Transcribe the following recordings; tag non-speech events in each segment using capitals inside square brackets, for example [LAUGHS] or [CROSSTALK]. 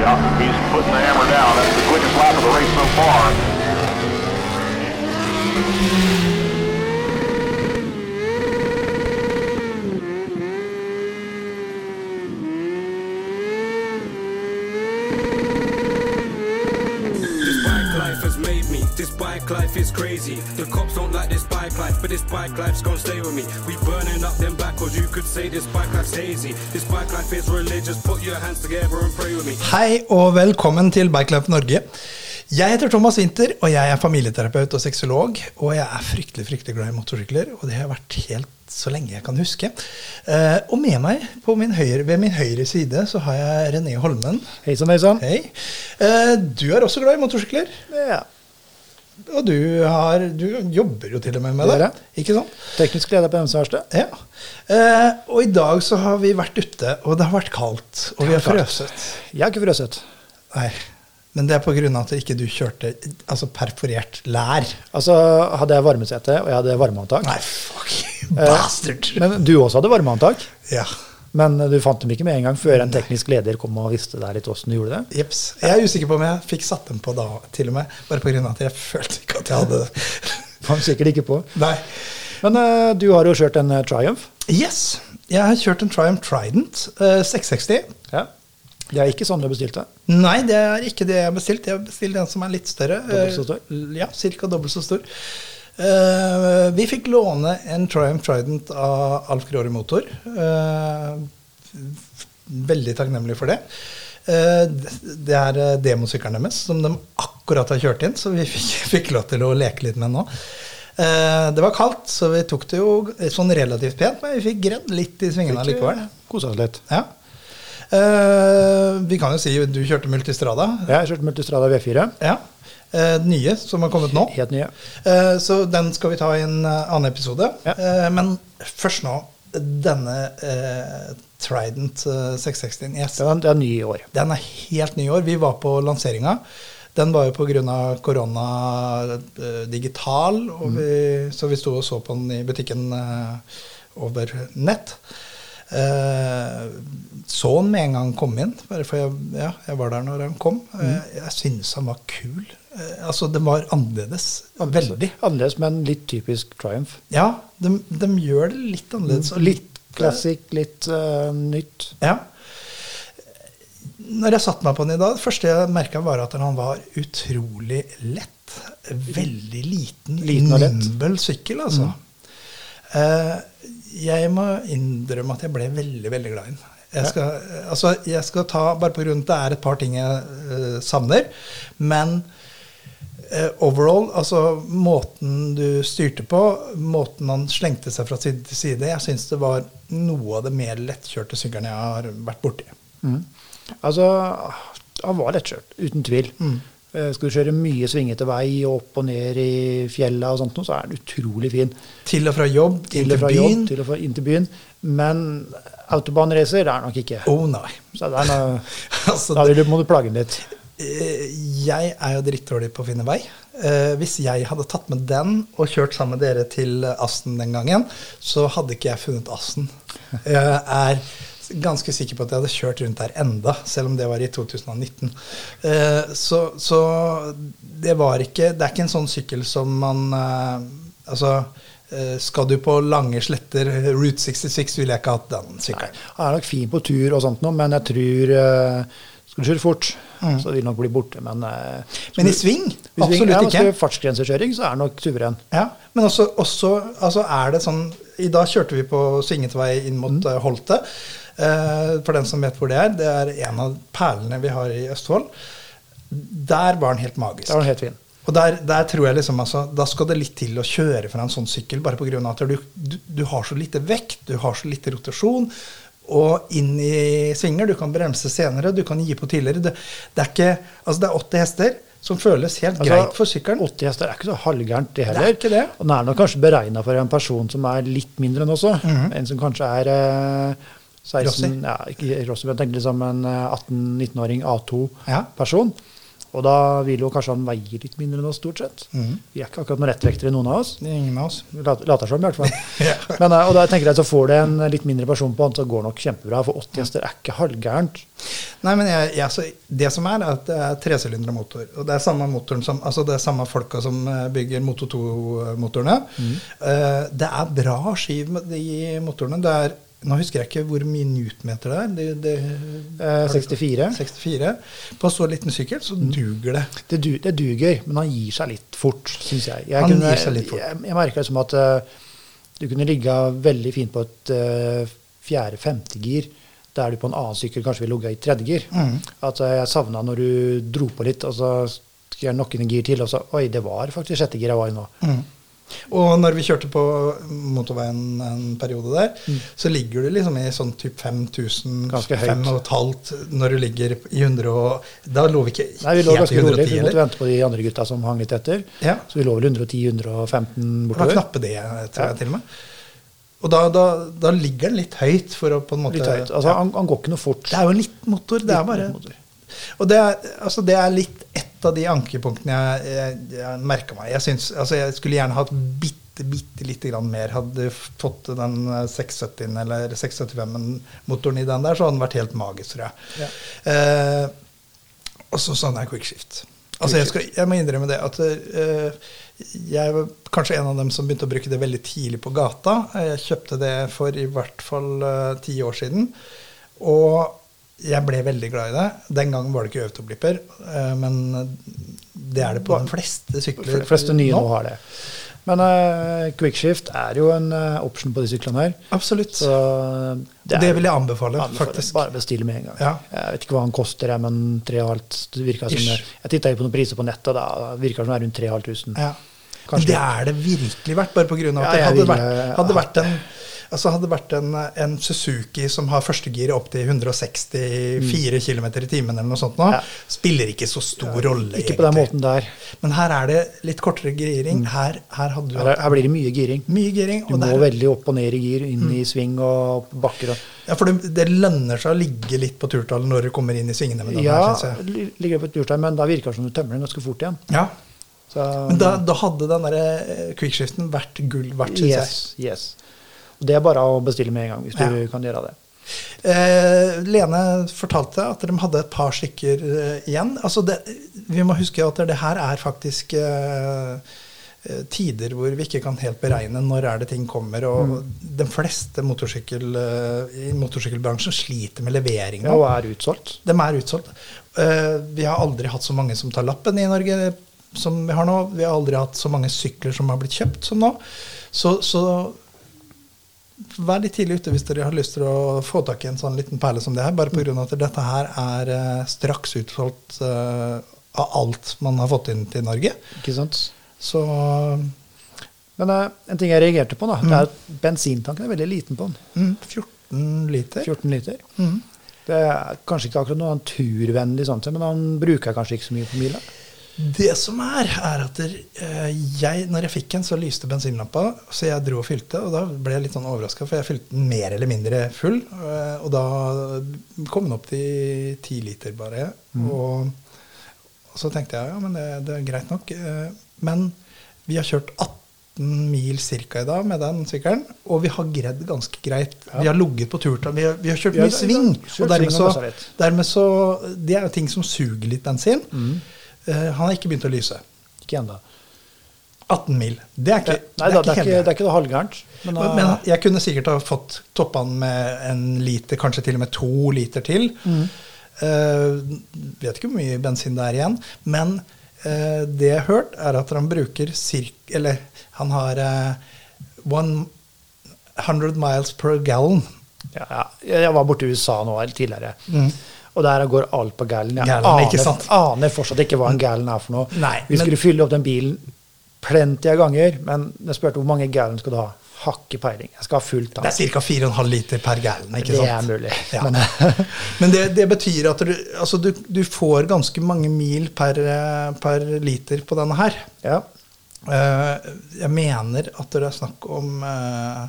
out. He's putting the hammer down. That's the quickest lap of the race so far. This bike life has made me. This bike life is crazy. The cops don't like this bike life, but this bike life's gonna stay with me. We burning up them backwards. You could say this bike life's hazy. This bike life is religious. Put your hands together and pray with me. Hei og velkommen til Bikelife Norge. Jeg heter Thomas Winther, og jeg er familieterapeut og sexolog. Og jeg er fryktelig fryktelig glad i motorsykler, og det har jeg vært helt så lenge jeg kan huske. Eh, og med meg på min høyre, ved min høyre side så har jeg René Holmen. Hei sann, hei sann. Hei. Eh, du er også glad i motorsykler, Ja. og du, har, du jobber jo til og med med Det gjør det. jeg. Ikke sant? Teknisk leder på MC-verkstedet. Ja. Eh, og i dag så har vi vært ute, og det har vært kaldt, og vi har Det har vært frøset. Jeg har ikke frøset. Nei. Men det er på grunn av at ikke du kjørte altså perforert lær. Altså, hadde jeg varmesete, og jeg hadde varmeantak Nei, fuck. Eh, Bastard. Men du også hadde varmeantak. ja. Men du fant dem ikke med en gang før en teknisk leder kom og visste deg litt åssen du gjorde det. Jeps. Jeg er usikker på om jeg fikk satt dem på da, til og med. Bare på grunn av at jeg følte ikke at jeg hadde det. [LAUGHS] Kom sikkert ikke på. Nei. Men eh, du har jo kjørt en eh, Triumph. Yes. Jeg har kjørt en Triumph Trident eh, 660. Ja. Det er ikke sånn du bestilte. Nei, det er ikke det jeg har bestilt. Jeg har bestilt en som er litt større. Dobbelt så stor? Eh, Ja, ca. dobbelt så stor. Eh, vi fikk låne en Triumph Trident av Alf Gråre Motor. Eh, f- veldig takknemlig for det. Eh, det- det er eh, demosykkelen deres som de akkurat har kjørt inn, så vi fikk, [LAUGHS] fikk lov til å leke litt med nå. Eh, det var kaldt, så vi tok det jo sånn relativt pent, men vi fikk gredd litt i svingene eh, allikevel. Kosa oss litt. Ja. Eh, vi kan jo si du kjørte Multistrada. Jeg har kjørt Multistrada V4. Ja. Eh, den nye som har kommet nå. Helt nye. Eh, så den skal vi ta i en eh, annen episode. Ja. Eh, men først nå denne eh, Trident eh, 660. Yes. Den er, den er ny i år. Den er helt ny i år. Vi var på lanseringa. Den var jo pga. korona eh, digital, og vi, så vi sto og så på den i butikken eh, over nett. Eh, så den med en gang han kom inn, bare for jeg, ja, jeg var der når han kom. Eh, jeg synes han var kul. Eh, altså, den var annerledes. Veldig. Annerledes, men litt typisk Triumph. Ja, de, de gjør det litt Mm. annerledes. og Litt classic, litt eh, nytt. Ja. Når jeg satte meg på den i dag, det første jeg merka, var at han var utrolig lett. Veldig liten, Liten og lett. Mm. nimbel sykkel, altså. Eh, jeg må innrømme at jeg ble veldig, veldig glad i den. Jeg skal, eh, altså, jeg skal ta, bare på grunn av at det er et par ting jeg eh, savner, men eh, overall, altså måten du styrte på, måten han slengte seg fra side til side, jeg syns det var noe av det mer lettkjørte sykkelen jeg har vært borti. Altså, han var lettkjørt, uten tvil. Mm. Eh, Skal du kjøre mye svingete vei og opp og ned i fjella og sånt, noe, så er den utrolig fin. Til og fra jobb, Til og fra byen. jobb, til og fra inn til byen. Men autobahnracer det er nok ikke. Oh, nei. [LAUGHS] Så det er noe, Altså, da vil du, må du plage den litt. Eh, jeg er jo drittdårlig på å finne vei. Eh, hvis jeg hadde tatt med den og kjørt sammen med dere til eh, Asten den gangen, så hadde ikke jeg funnet Asten. Jeg er ganske sikker på at jeg hadde kjørt rundt der enda, selv om det var i 2019. Eh, så så det, var ikke, det er ikke en sånn sykkel som man eh, Altså, eh, skal du på lange sletter, Route 66, ville jeg ikke hatt den sykkelen. Han er nok fin på tur og sånt noe, men jeg tror eh, Skal du kjøre fort, så vil den nok bli borte, men eh, Mm. Men i skal du- sving? altså, hvis du- Absolutt ja, men ikke. Skal du fartsgrensekjøring, så er den nok suveren. Ja, men også, også altså er det sånn I dag kjørte vi på svingete vei inn mot eh, Holte. Eh, for den som vet hvor det er, det er en av perlene vi har i Østfold. Der var den helt magisk. Da er den helt fin. Og der, der tror jeg liksom altså, Da skal det litt til å kjøre fra en sånn sykkel, bare pga. at du, du, du har så lite vekt, du har så lite rotasjon. Og inn i svinger. Du kan bremse senere, du kan gi på tidligere. Det, det, er, ikke, altså det er 80 hester, som føles helt Altså, greit for sykkelen. 80 hester er ikke så halvgærent, det heller. Det er ikke det. Og den er nok kanskje beregna for en person som er litt mindre enn også. En som kanskje er eh, 16 Mhm. Rossi. Ja, ikke Rossi, men jeg tenkte liksom en eh, 18-19-åring Ja. A2-person. Og da vil jo kanskje han veie litt mindre enn oss, stort sett. Mhm. Vi er ikke akkurat noen lettvektere, noen av oss. Det er ingen av oss. Vi lat- Later som, [LAUGHS] i hvert fall. Men, eh, og da tenker jeg at så får du en litt mindre person på han, så går det nok kjempebra. For 80 hester er ikke halvgærent. Nei, men jeg, jeg, altså, Det som er, er at det er tresylindra motor. Og det er samme motoren som, altså det er samme folka som eh, bygger Moto 2-motorene. Eh, det er bra skiv med de motorene. Det er, nå husker jeg ikke hvor mye newtonmeter det er. Det, det, Eh, 64. 64. På en så liten sykkel så duger det. Det, du, det duger, men han gir seg litt fort, syns jeg. jeg. Han gir seg litt fort. Jeg, jeg merker liksom at eh, du kunne ligge veldig fint på et uh, fjerde-femte gir, der du på en annen sykkel kanskje ville ligget i tredje gir. Mm. At eh, jeg savna når du dro på litt, og så skulle jeg noen gir til, og så Oi, det var faktisk sjette gir jeg var i nå. Og når vi kjørte på motorveien en periode der, så ligger du liksom i sånn typ 5000 Mm. Ganske høyt. 5500 når du ligger i 100 og Da lå vi ikke Nei, vi lå helt i ganske rolig. 110, Vi måtte eller? vente på de andre gutta som hang litt etter. Ja. Så vi lå vel 110-115 Det var bortover. knappe det, tror Ja. jeg til og med. Og da, da, da ligger den litt høyt, for å på en måte Litt høyt. Altså, han, han går ikke noe fort. Det er jo en liten motor. Det Liten er bare motor. Og det er, altså, det er litt ett av de ankepunktene jeg, jeg, jeg merka meg. Jeg, syns, altså, jeg skulle gjerne hatt bitte, bitte lite grann mer. Hadde jeg fått den eh, 670 eller 675-motoren i den der, så hadde den vært helt magisk, tror jeg. Eh, og så savner jeg quickshift. Altså, jeg, skal, jeg må innrømme det at eh, jeg var kanskje en av dem som begynte å bruke det veldig tidlig på gata. Jeg kjøpte det for i hvert fall eh, ti år siden. Og jeg ble veldig glad i det. Den gangen var det ikke autoblipper, eh, men det er det på de fleste sykler. De fleste nye nå har det. Men eh, quickshift er jo en eh, option på de syklene her. Absolutt. Så det, det vil jeg anbefale, anbefale. faktisk. Bare bestille med en gang. Ja. Jeg vet ikke hva han koster, jeg, men 3500 det virker som Ish. det- Jeg titta på noen priser på nettet, og da virka det som det er rundt 3500. Ja. Kanskje Men det er det virkelig verdt, bare pga. at Ja, det jeg hadde ville vært, hadde hatt vært en Altså hadde det vært en, en Suzuki som har førstegiret opp til 164 km i timen eller noe sånt nå, Mm. Ja. spiller ikke så stor rolle, Ikke på den måten der. Men her er det litt kortere giring. Her, her hadde du Her, hatt her blir det mye giring. mye giring. Du og må det er- veldig opp og ned i gir, inn Mm. i sving og bakker og ja, for det, det lønner seg å ligge litt på turtallen når du kommer inn i svingene med den Ja, her, syns jeg. li- ligger på et lurtegn, men da virker det som du tømmer den ganske fort igjen. Ja. Så, Men da, da hadde den der eh, quickshiften vært gull verdt, syns jeg. Yes, yes. Og Det er bare å bestille med en gang, hvis du Ja. kan gjøre det. Eh, Lene fortalte at de hadde et par stykker eh, igjen. Altså det, vi må huske at det her er faktisk eh, eh, tider hvor vi ikke kan helt beregne når er det ting kommer. Og Mm. de fleste motorsykkel, eh, i motorsykkelbransjen sliter med levering Ja, nå. og er utsolgt. De er utsolgt. Eh, vi har aldri hatt så mange som tar lappen i Norge som vi har nå. Vi har aldri hatt så mange sykler som har blitt kjøpt som nå. Så, så vær litt tidlig ute hvis dere har lyst til å få tak i en sånn liten perle som det her. Bare pga. at dette her er eh, straks utsolgt eh, av alt man har fått inn til Norge. Ikke sant? Så Men eh, en ting jeg reagerte på, da, det er at bensintanken er veldig liten på den. mm, 14 liter. Mm. 14 liter. Det er kanskje ikke akkurat noe han turvennlig, sånn sett, men han bruker kanskje ikke så mye på mila. Det som er, er at der, eh, jeg, når jeg fikk den, så lyste bensinlampa, så jeg dro og fylte, og da ble jeg litt sånn overraska, for jeg fylte den mer eller mindre full, eh, og da kom den opp til ti liter bare, og, og så tenkte jeg ja, men det, det er greit nok, eh, men vi har kjørt 18 mil cirka i dag med den sykkelen, og vi har gredd ganske greit. Vi har ligget på turtall, vi, har- vi har kjørt Ja, mye det- sving, kjørt og dermed sving og så, passet litt. dermed så Det er jo ting som suger litt bensin. Mm. Eh, han har ikke begynt å lyse. Ikke ennå. 18 mil. Det er ikke, Nei da, det er ikke, helt det er ikke noe halvgærent. Men, men, eh, men jeg kunne sikkert ha fått toppa den med en liter, kanskje til og med to liter til. Mm. Eh, vet ikke hvor mye bensin det er igjen, men eh, det jeg har hørt, er at han bruker cirk... Eller han har eh, one 100 miles per gallon. ja, ja. Jeg jeg var borte i USA nå eller tidligere. Og der går alt på gallen. Jeg Gallen, aner, Mm. ikke sant? Mm. aner fortsatt ikke hva en gallen er for noe. Nei, Vi men- skulle fylle opp den bilen plenty av ganger, men jeg spurte hvor mange gallen skal du ha. Hakke peiling. Jeg skal ha fullt av. Det er ca. 4,5 liter per gallon. ikke Det sant? er mulig, [LAUGHS] Ja. men- Men, det, det betyr at du, altså du, du får ganske mange mil per, eh, per liter på denne her. Ja. Eh, Jeg mener at det er snakk om eh,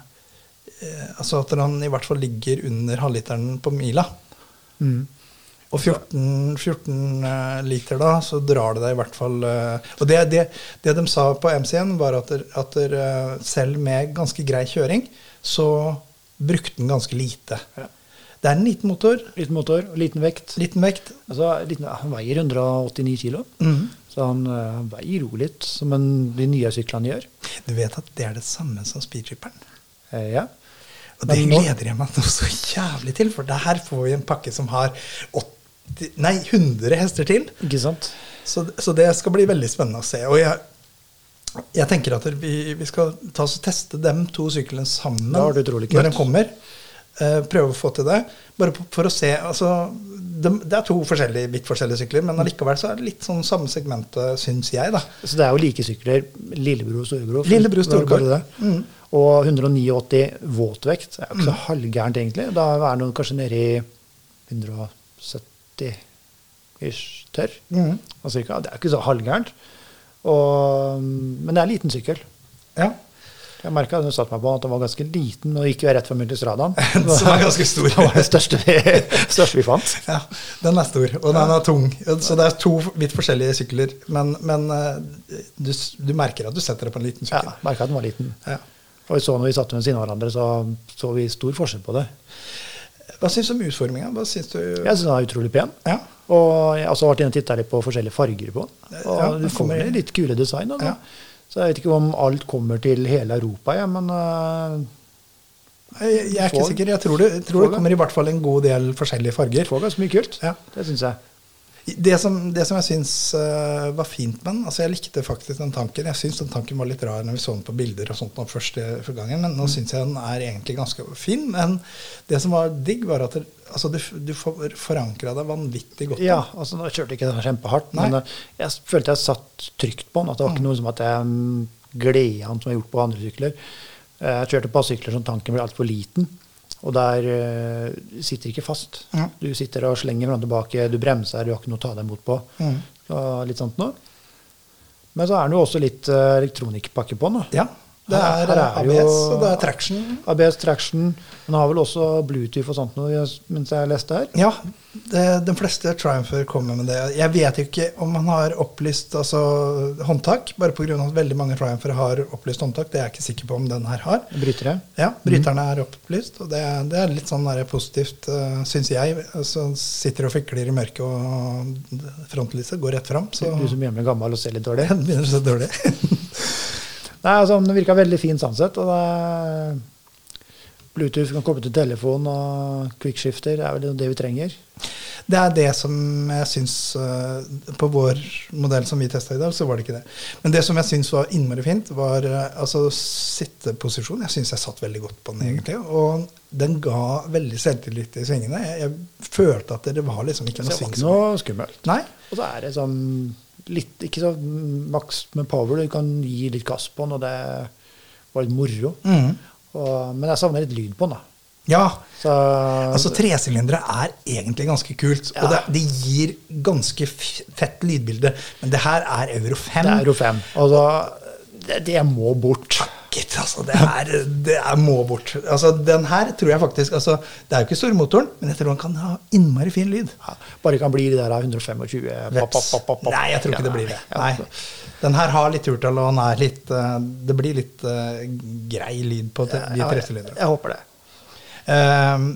Mm. eh, Altså at han i hvert fall ligger under halvliteren på mila. Og 14, 14 eh, liter da, så drar det deg i hvert fall eh, Og det, det, det de sa på MC-en, var at, der, at der, eh, selv med ganske grei kjøring, så brukte den ganske lite. Ja. Det er en liten motor, Liten motor, liten vekt. liten vekt. Altså, liten, han veier 189 kilo, Mm. så han, eh, han veier jo litt, som en, de nye syklene gjør. Du vet at det er det samme som speedchipperen. Eh, ja. Og det Men nå- gleder jeg meg noe så jævlig til, for det her får vi en pakke som har 80, nei, 100 hester til. Ikke sant? Så, så det skal bli veldig spennende å se. Og jeg, jeg tenker at vi, vi skal ta oss og teste dem to syklene sammen Da har du utrolig kult. når de kommer. Eh, prøve å få til det. Bare på- for å se altså, de, Det er to forskjellige, vidt forskjellige sykler, Mm. men allikevel så er det litt sånn samme segmentet, syns jeg. da. Så det er jo like sykler, lillebror og storebror. Lillebror og storebror. Bare det. Mm. Og 189 våtvekt. Det er jo ikke så halvgærent, egentlig. Da er den kanskje nede i 170 ish tørr. Mhm. Og cirka. Det er jo ikke så halvgærent. Og, mm, men det er en liten sykkel. Ja. Jeg merka den satte meg på at den var ganske liten, men den gikk jo rett for multistradaen. Så [LAUGHS] den er ganske [LAUGHS] stor. Det var det største vi, [LAUGHS] største vi fant. Ja, Den er stor, og den er tung. Så det er to vidt forskjellige sykler. Men, men eh, du, s- du merker at du setter deg på en liten Ja, sykkel. Merka at den var liten. Ja. Og vi så når vi satte dem ved siden av hverandre, så så vi stor forskjell på det. Hva syns du om utforminga? Hva syns du Jeg syns den var utrolig pen. Ja. Og jeg har også vært inne og titta litt på forskjellige farger på den. Og Ja, det den kommer- kommer litt kule design. da, Da. Ja. Så jeg vet ikke om alt kommer til hele Europa, ja, men uh, Jeg, jeg er ikke Får- sikker. Jeg tror det, jeg tror får det det. kommer i hvert fall en god del forskjellige farger. får ganske mye kult. Ja. Det syns jeg. Det som, det som jeg syns eh, var fint med den altså Jeg likte faktisk den tanken. Jeg syns den tanken var litt rar når vi så den på bilder og sånt nå første første gangen, men nå Mm. syns jeg den er egentlig ganske fin. Men det som var digg, var at det, altså, du, f- du får- forankra deg vanvittig godt. Ja, altså Nå kjørte jeg ikke den kjempehardt, Nei. men uh, jeg s- følte jeg satt trygt på den. At det var ikke noe som at jeg mm, gleda den som jeg har gjort på andre sykler. Eh, Jeg kjørte på sykler som tanken ble altfor liten, og der eh, sitter ikke fast. Ja. Du sitter og slenger fram og tilbake, du bremser, du har ikke noe å ta deg imot på. Mhm. Og litt sånt noe. Men så er det jo også litt eh, elektronikkpakke på den. da. Ja. Det Her- er, her eh, jo- ABS, og det er traction. ABS traction. Den har vel også Bluetooth og sånt noe, jeg- mens jeg leste her. Ja, det, de fleste Triumpher kommer med det. Jeg vet jo ikke om han har opplyst altså, håndtak, bare pga. at veldig mange Triumpher har opplyst håndtak. Det er jeg ikke sikker på om den her har. Brytere. Ja, Bryterne er opplyst, og det, er- det er litt sånn der positivt, uh, syns jeg. Altså, sitter og fikler i mørket, og frontlyset går rett fram, så Du som er hjemme gammel og ser litt dårlig. den [LAUGHS] begynner å se dårlig. [LAUGHS] Nei, altså, Den virka veldig fin sånn sett. og det er Bluetooth kan koble til telefon og quickshifter. Det er vel det vi trenger. Det er det som jeg syns eh, På vår modell som vi testa i dag, så var det ikke det. Men det som jeg syns var innmari fint, var eh, altså sitteposisjon. Jeg syns jeg satt veldig godt på Mm. den, egentlig. Og den ga veldig selvtillit i svingene. Jeg, jeg følte at det var liksom ikke Så noe det var sving ikke som noe skummelt. Nei. Og så er det sånn litt Ikke så maks med power. Du kan gi litt gass på den, og det var litt moro. Mhm. Og, men jeg savner litt lyd på den, da. Ja. Så Altså Tresylindere er egentlig ganske kult, og det, Ja. det gir ganske f- fett lydbilde. Men det her er Euro 5. det er jo fem. Altså, det, det må bort. Gitt, altså, det, er, det er må bort. Altså, den her tror jeg faktisk altså, Det er jo ikke stormotoren, men jeg tror han kan ha innmari fin lyd. Ja, bare ikke han blir de der 125 pop, pop, Veps. pop, pop, pop. Nei, jeg tror ikke det blir det. Ja, Nei. altså. Den her har litt turtall, og han er litt, eh, det blir litt eh, grei lyd på te- de Ja, jeg, tresylinderne. jeg håper det. Ehm,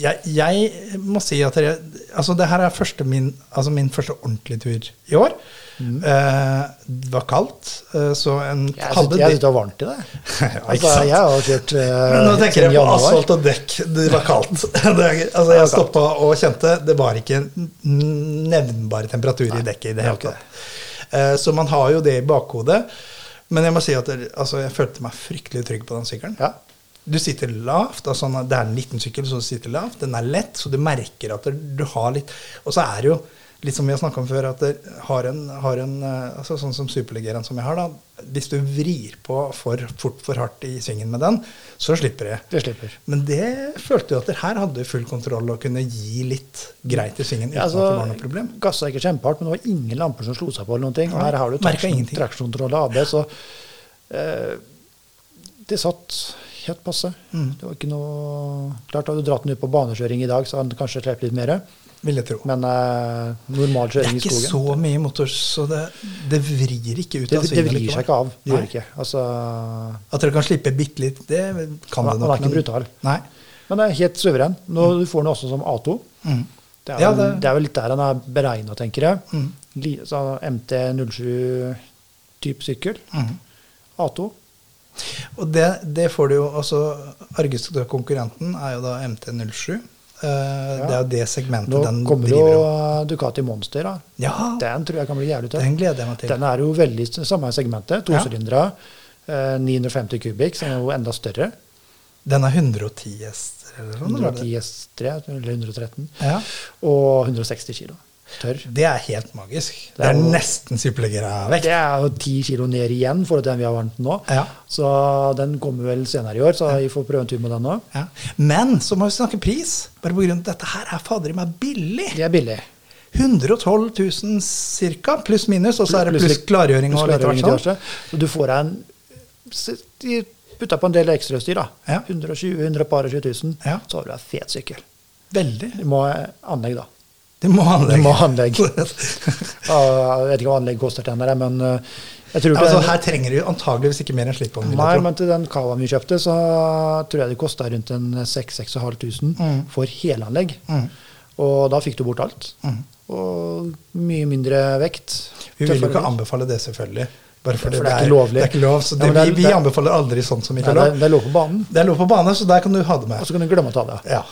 jeg, jeg må si at jeg, altså det her er første min, altså min første ordentlige tur i år. Eh, det var kaldt, eh, så en Mm. Jeg syns jeg syns det var varmt i det. [LAUGHS] Ja, ikke Altså, sant? jeg har jo kjørt eh, Men nå tenker siden jeg på januar. asfalt og dekk. Det var [LAUGHS] kaldt. Det, er- altså, jeg stoppa og kjente det var ikke en nevnbar temperatur i dekket i det hele det var ikke tatt. Eh, Så man har jo det i bakhodet. Men jeg må si at det- altså, jeg følte meg fryktelig trygg på den sykkelen. Ja. Du sitter lavt. altså Det er en liten sykkel, så du sitter lavt. Den er lett, så du merker at du har litt Og så er det jo litt som vi har snakka om før, at det har en, har en eh, altså Sånn som superleggeren som jeg har, da. Hvis du vrir på for fort for hardt i svingen med den, så slipper det. Det slipper. Men det følte jo at det her hadde full kontroll og kunne gi litt greit i svingen uten Ja, at det var noe altså, problem. Gassa ikke kjempehardt, men det var ingen lamper som slo seg på. eller noen ting. Nei, Her har du merket traksjon- ingenting. traksjonskontroll og ABS. og eh, det satt helt passe. Mm. Det var ikke noe Klart hadde du dratt den ut på banekjøring i dag, så hadde han kanskje sluppet litt mer. vil jeg tro. Men eh, normal det er kjøring i ikke skogen så mye motor, så det, det vrir ikke ut det, av det svinget vrir likevel. seg ikke av. Det Nei. gjør det ikke. Altså, At dere kan slippe bitte litt, det kan Han det er- nok. han er ikke men- brutal. Nei. Men det er helt suveren. Nå Mm. du får den også som A2. Det, er Ja, vel, det- Mm. det er vel litt der han er beregna, tenker jeg. Li- Så MT07-type sykkel. Mm. A2. Og det, det får du jo altså Argeste konkurrenten er jo da MT07. Eh, Det er jo det segmentet Nå den kommer jo driver om. eh, Ducati Monster. Da. Ja, Den tror jeg kan bli jævlig tøff. den gleder jeg meg til. Den er jo veldig s- samme segmentet. Ja. Tosylindere. eh, 950 kubikk, som er jo enda større. Den er 110 hester eller noe sånt? eller? 110 S3, eller 113. Sånn Ja. Og 160 kilo. Tørr. Det er helt magisk. Det er er, jo- nesten Det superleggere-vekt. er jo ti kilo ned igjen for den vi har varmt nå. Ja. Så den kommer vel senere i år, så vi får prøve en tur med den òg. Ja. Men så må vi snakke pris. Bare på grunn av at dette her er fader i meg billig. Det er billig. 112 000 ca. pluss minus, og så er det pluss klargjøring pluss og litt hvert klargjøring til sånn. diverse. Så du får en se- De putta på en del ekstrautstyr, da. Ja. 120 120 000. Ja. Så har du en fet sykkel. Veldig. Du må ha anlegg, da. Det må anlegg. Du må ha anlegg. [LAUGHS] altså, Ah, Jeg vet ikke hva anlegg koster til den der, men eh, jeg tror ikke den- altså, her trenger du antageligvis ikke mer enn slipånd. vil jeg Nei, tro. men til den kavaen vi kjøpte, så tror jeg det kosta rundt en 6000-6500 Mm. for helanlegg. Og da fikk du bort alt. Og mye mindre vekt. Mm. Vi vil jo Tøffere ikke vekt. anbefale det, selvfølgelig. Bare fordi For det er ikke lovlig. Det er ikke lov, så Ja, det, men det er- vi, vi det- anbefaler aldri sånt som ikke Nei, er lov. det, er- det er lov på banen, Det er lov på bane, så der kan du ha det og med. så kan du glemme å ta det av. Ja.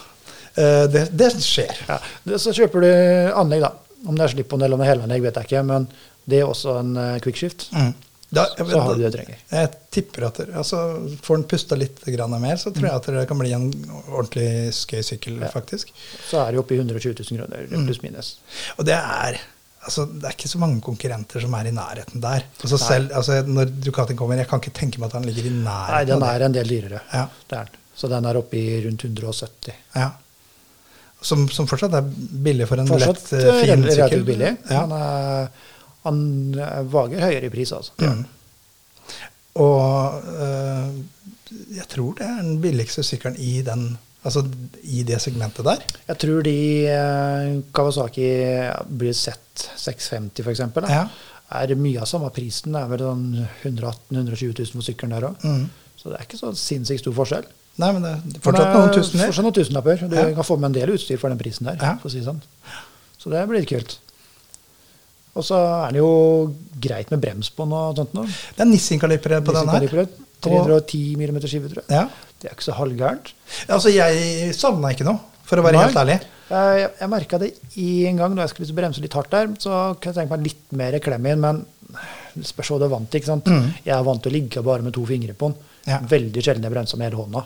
Eh, det, det skjer. Ja. Det- Så kjøper du anlegg, da. Om det er slipphånd eller om det er helanlegg, vet jeg ikke, men det er også en eh, quickshift. Mm. Da, Så har du det du trenger. Jeg tipper at dere, altså, Får den pusta litt grann mer, så Mm. tror jeg at det kan bli en ordentlig skøy sykkel, faktisk. Så er det oppe i 120 000 kroner, Mm. pluss minus. Og det er altså, det er ikke så mange konkurrenter som er i nærheten der. Altså, selv, altså, når Ducati kommer, jeg kan ikke tenke meg at han ligger i nærheten. Nei, den av det. er en del dyrere. Ja. Det er den. Så den er oppe i rundt 170 000. Ja. Som, som fortsatt er billig for en Fortsatt lett, eh, fin rel- relativt sykkel. billig. Ja. Han, er, han eh, vager høyere i pris, altså. Mm. Og eh, jeg tror det er den billigste sykkelen i, den, altså, i det segmentet der. Jeg tror de eh, Kawasaki blir sett 650 f.eks. Ja. Er mye av samme prisen. Det er vel sånn 118 000-120 000 for sykkelen der òg. Mm. Så det er ikke så sinnssykt stor forskjell. Nei, men det er fortsatt noen tusener. Fortsatt noen tusenlapper. Du Ja. kan få med en del utstyr for den prisen der. Ja. For å si det sånn. Så det blir litt kult. Og så er den jo greit med bremsbånd og sånt noe. Det er Nissin-kalipere på den her. Nissin-kalibre, 310 mm skive, tror jeg. Ja. Det er ikke så halvgærent. Altså, jeg savna ikke noe, for å være Nei. helt ærlig. Eh, Jeg, jeg merka det én gang da jeg skulle bremse litt hardt der. Så kunne jeg tenke meg litt mer klem inn, men det spørs hva du er vant til. ikke sant? Jeg er vant til å ligge bare med to fingre på den. Mm. Ja. Veldig sjelden jeg bremser med hele hånda.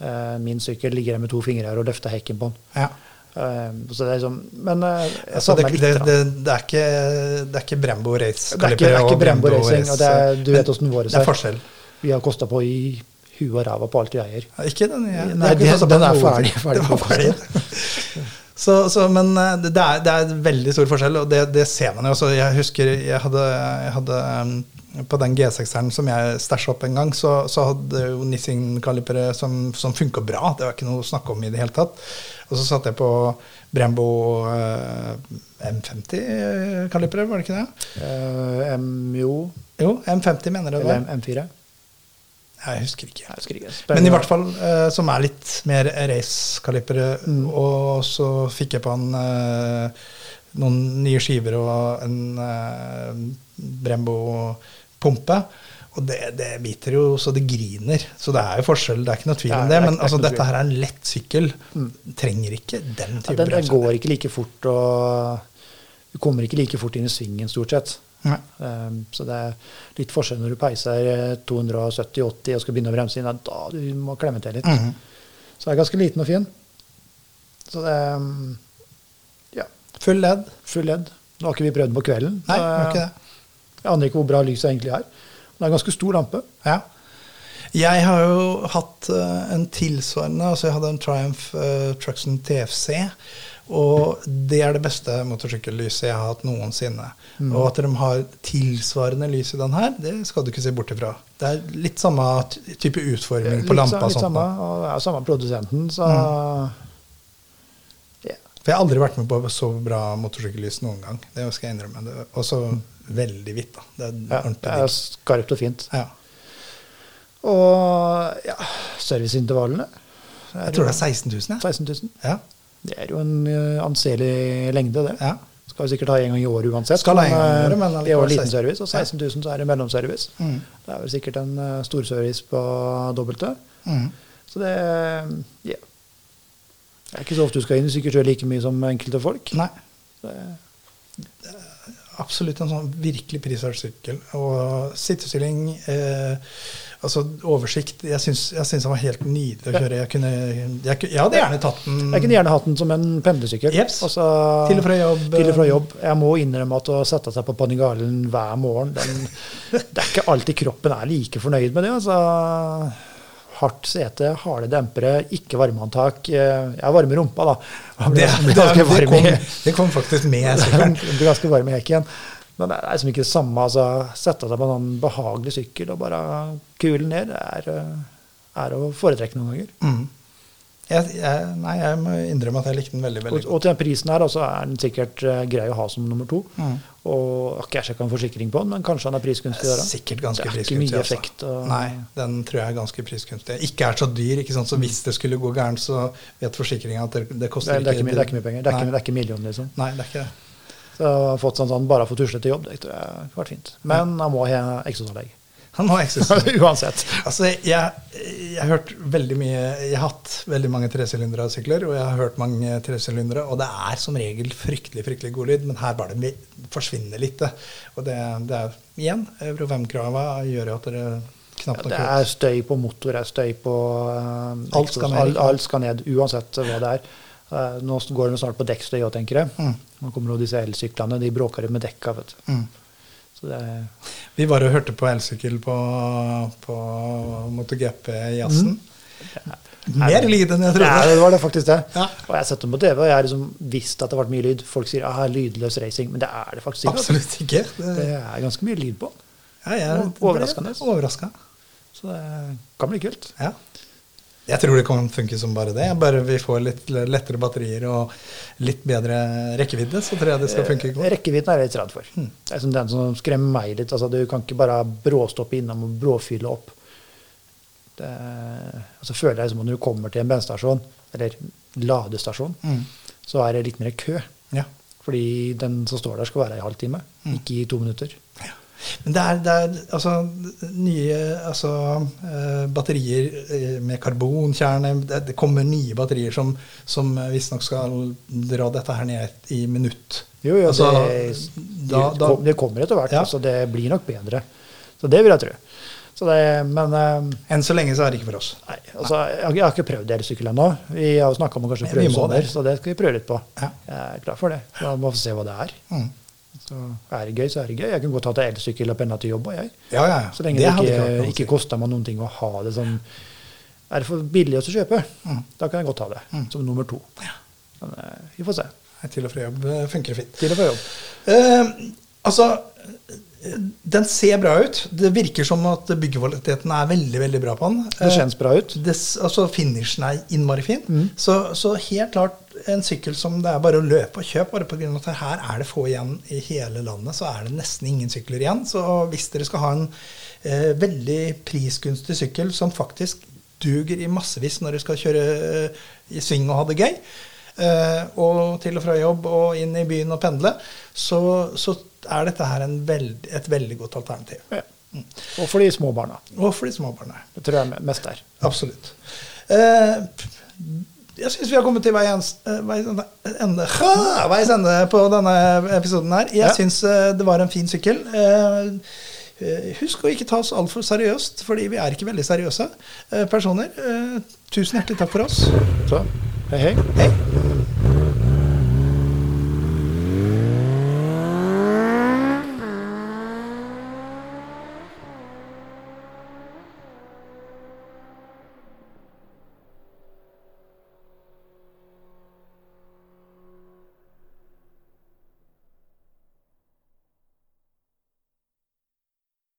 Eh, Min sykkel ligger jeg med to fingre her og løfter hekken på den. Ja. Eh, Så det er liksom, men eh, jeg Altså, det, det, savner litt. da. det, det, er ikke, det er ikke Brembo Det er ikke, det Race-kalipere er ikke Brembo racing, Race, og det er, du vet men åssen våre Det er forskjell. Vi har kosta på i huet og ræva på alt vi eier. Ja, Ikke den, ja. Nei, Det den- ikke sånn den at er noen- ferdig- ferdig [LAUGHS] Den var ferdig. Så, så, men eh, det det er, det er veldig stor forskjell, og det, det ser man jo. også. jeg husker jeg hadde, jeg hadde eh, på den G6-eren som jeg stæsja opp en gang, så, så hadde jo Nissin-kalipere som, som funka bra. Det var ikke noe å snakke om i det hele tatt. Og så satte jeg på Brembo eh, M50-kalipere, var det ikke det? Eh, M, jo, Jo, M50 mener jeg det eller var. M- M4. Jeg husker ikke. Jeg husker ikke. Men i hvert fall eh, som er litt mer race-kalipere. Og så fikk jeg på han eh, noen nye skiver og en eh, Brembo-pumpe. Og det, det biter jo så det griner. Så det er jo forskjell, det er ikke noe tvil Det om er- det det. er- Men det er ikke altså, noe dette tvil. Mm. her er en lett sykkel. Trenger ikke den Ja, type den, den bremser. går ikke like fort, og du kommer ikke like fort inn i svingen, stort sett. Nei. Um, så det er litt forskjell når du peiser eh, 270-80 og skal begynne å bremse inn. ja, Da du må klemme til litt. Mhm. Så den er ganske liten og fin. Så det um, Ja, Full ledd. full ledd. Nå har ikke vi prøvd den på kvelden. Nei, så, det var ikke det. Jeg aner ikke hvor bra lyset egentlig er. Men det er en ganske stor lampe. Ja. Jeg har jo hatt eh, en tilsvarende altså Jeg hadde en Triumph eh, Truxton TFC. Og det er det beste motorsykkellyset jeg har hatt noensinne. Mm. Og at de har tilsvarende lys i den her, det skal du ikke se bort ifra. Det er litt samme ty- type utforming på Litt sa- lampa. sånn, Mm. og litt sånt. samme, nå. og det er jo samme produsenten, så ja. For jeg har aldri vært med på så bra motorsykkellys noen gang. Det skal jeg innrømme. Det- Og så veldig hvitt, da. Det er Ja, det er ordentlig digg. skarpt og fint. Ja. Og ja, serviceintervallene er Jeg tror jo det er 16 000, jeg. 16 000. Ja. Det er jo en eh, anselig lengde, det. Ja. Skal vi sikkert ha en gang i året uansett. Skal ha en gang i året, eh, men det er jo allikevel en 16 liten service, og 16 000 så er det mellomservice. Mm. Det er vel sikkert en eh, storservice på dobbelte. Mm. Så det ja. Det er ikke så ofte du skal inn i sykkelkjør like mye som enkelte folk. Nei. Det, absolutt en sånn virkelig prisverdig sykkel. Og sittestilling, eh, altså oversikt Jeg syns, jeg syns den var helt nydelig å kjøre. Jeg, kunne, jeg, ku- jeg hadde gjerne tatt den Jeg kunne gjerne hatt den som en pendlesykkel. Mm. Jeps. Og så- Til og fra jobb. eh, Til og fra jobb. Jeg må innrømme at å sette seg på Panigalen hver morgen [LAUGHS] den, Det er ikke alltid kroppen er like fornøyd med det. Altså, hardt sete, harde dempere, ikke varmeantak. Eh, Jeg varmer rumpa, da. Man det, blir- det, [LAUGHS] blir det, ganske varm kom, i- det kom faktisk med [LAUGHS] sykkelen. jeg blir ganske varm i hekken. Men det er liksom ikke det samme. Altså, sette seg på en sånn behagelig sykkel og bare kule ned, det er, eh, er å foretrekke noen ganger. Mm. Jeg, jeg, nei, jeg må innrømme at jeg likte den veldig veldig Og, og til den prisen her, da, så er den sikkert eh, grei å ha som nummer to. Mm. Og jeg har ikke jeg sjekka en forsikring på den, men kanskje han er prisgunstig der. da. Sikkert ganske Det er ikke prisgunstig. mye altså. effekt. Og, Nei, den tror jeg er ganske prisgunstig. Ikke er så dyr, ikke Mm. sant? så hvis det skulle gå gærent, så vet forsikringa at det, det Det koster er, det, er ikke, mye- det er ikke mye penger. Det er ikke, det nei. er ikke million, liksom. nei, det er ikke det. Så jeg har fått sånn, sånn bare for tusle til jobb, det tror jeg har vært fint. Men han må ha eksosanlegg. [LAUGHS] Han må eksistere. Uansett. Altså, jeg, jeg har hørt veldig mye Jeg har hatt veldig mange tresylindere-sykler, og jeg har hørt mange tresylindere, og det er som regel fryktelig fryktelig god lyd, men her bare det forsvinner litt. det. Og det, det er igjen Euro 5-krava gjør jo at dere knapt nok Det hører. er støy på motor, det er støy på eh, Alt skal ned. Alt, alt skal ned, uansett hva det er. Eh, nå går det snart på dekkstøy òg, tenker jeg. Mm. Nå kommer jo disse elsyklene, de bråker jo med dekka, vet du. Mm. Så det er Vi var og hørte på elsykkel på, på MotoGP i jazzen. Mer lyd enn jeg Nei, trodde. Mhm. det var det faktisk det. Ja. Og jeg har sett dem på TV, og jeg har liksom visst at det har vært mye lyd. Folk sier ah, 'lydløs racing', men det er det faktisk ikke. altså. Absolutt ikke. Det Det, er ganske mye lyd på. ja, jeg Overraskende. Overraska. Så det kan bli kult. Ja. Jeg tror det kan funke som bare det. Bare vi får litt lettere batterier og litt bedre rekkevidde, så tror jeg det skal funke godt. Rekkevidden er jeg litt redd for. Hmm. Det er som den som skremmer meg litt. Altså, du kan ikke bare bråstoppe innom og bråfylle opp. Det, altså, føler jeg som om når du kommer til en bensinstasjon, eller ladestasjon, Mm. så er det litt mer kø. Ja. Fordi den som står der, skal være i en halvtime, Hmm. ikke i to minutter. Men det er, det er altså nye altså, eh, batterier eh, med karbonkjerne Det, det kommer nye batterier som, som visstnok skal dra dette her ned i minutt. Jo, jo, Altså, det, da, da, det kommer etter hvert, Ja. så det blir nok bedre. Så det vil jeg tro. Så det, men eh, enn så lenge så er det ikke for oss. nei, altså, jeg, jeg har ikke prøvd elsykkel ennå. Vi har jo snakka om å kanskje Nei, vi prøve må sommer, det. så det skal vi prøve litt på. Ja. Jeg er klar for det. Da må vi se hva det er. Mm. Så er det gøy, så er det gøy. Jeg kunne godt hatt elsykkel og penna til jobb, og jeg. Ja, ja, ja. Så lenge Det det, hadde ikke ikke, vært noe å ikke, si. kosta meg noen ting å ha det sånn Er det for billig å kjøpe, Mm. da kan jeg godt ha det som nummer to. Men eh, vi får se. Nei, Til og fra jobb eh, funker det fint. Til og fra jobb. Eh, altså, eh, den ser bra ut. Det virker som at byggekvaliteten er veldig veldig bra på den. Det kjennes bra ut. Mm. Eh, det s- altså Finishen er innmari fin. Så, så helt klart en sykkel som det er bare å løpe og kjøpe. Bare på grunn av at her er det få igjen i hele landet, så er det nesten ingen sykler igjen. Så hvis dere skal ha en eh, veldig prisgunstig sykkel som faktisk duger i massevis når dere skal kjøre eh, i sving og ha det gøy, eh, og til og fra jobb og inn i byen og pendle, så, så er dette her en veld, et veldig godt alternativ. Ja. Og for de små barna. Og for de små barna. Det tror jeg me- mest er. Absolutt. Eh, jeg syns vi har kommet til vei ens- eh, veis ende, ende, ha, veis ende på denne episoden her. Jeg Ja. syns eh, det var en fin sykkel. Eh, eh, husk å ikke ta oss altfor seriøst, fordi vi er ikke veldig seriøse eh, personer. Eh, tusen hjertelig takk for oss. Så, hei, hei. Hei.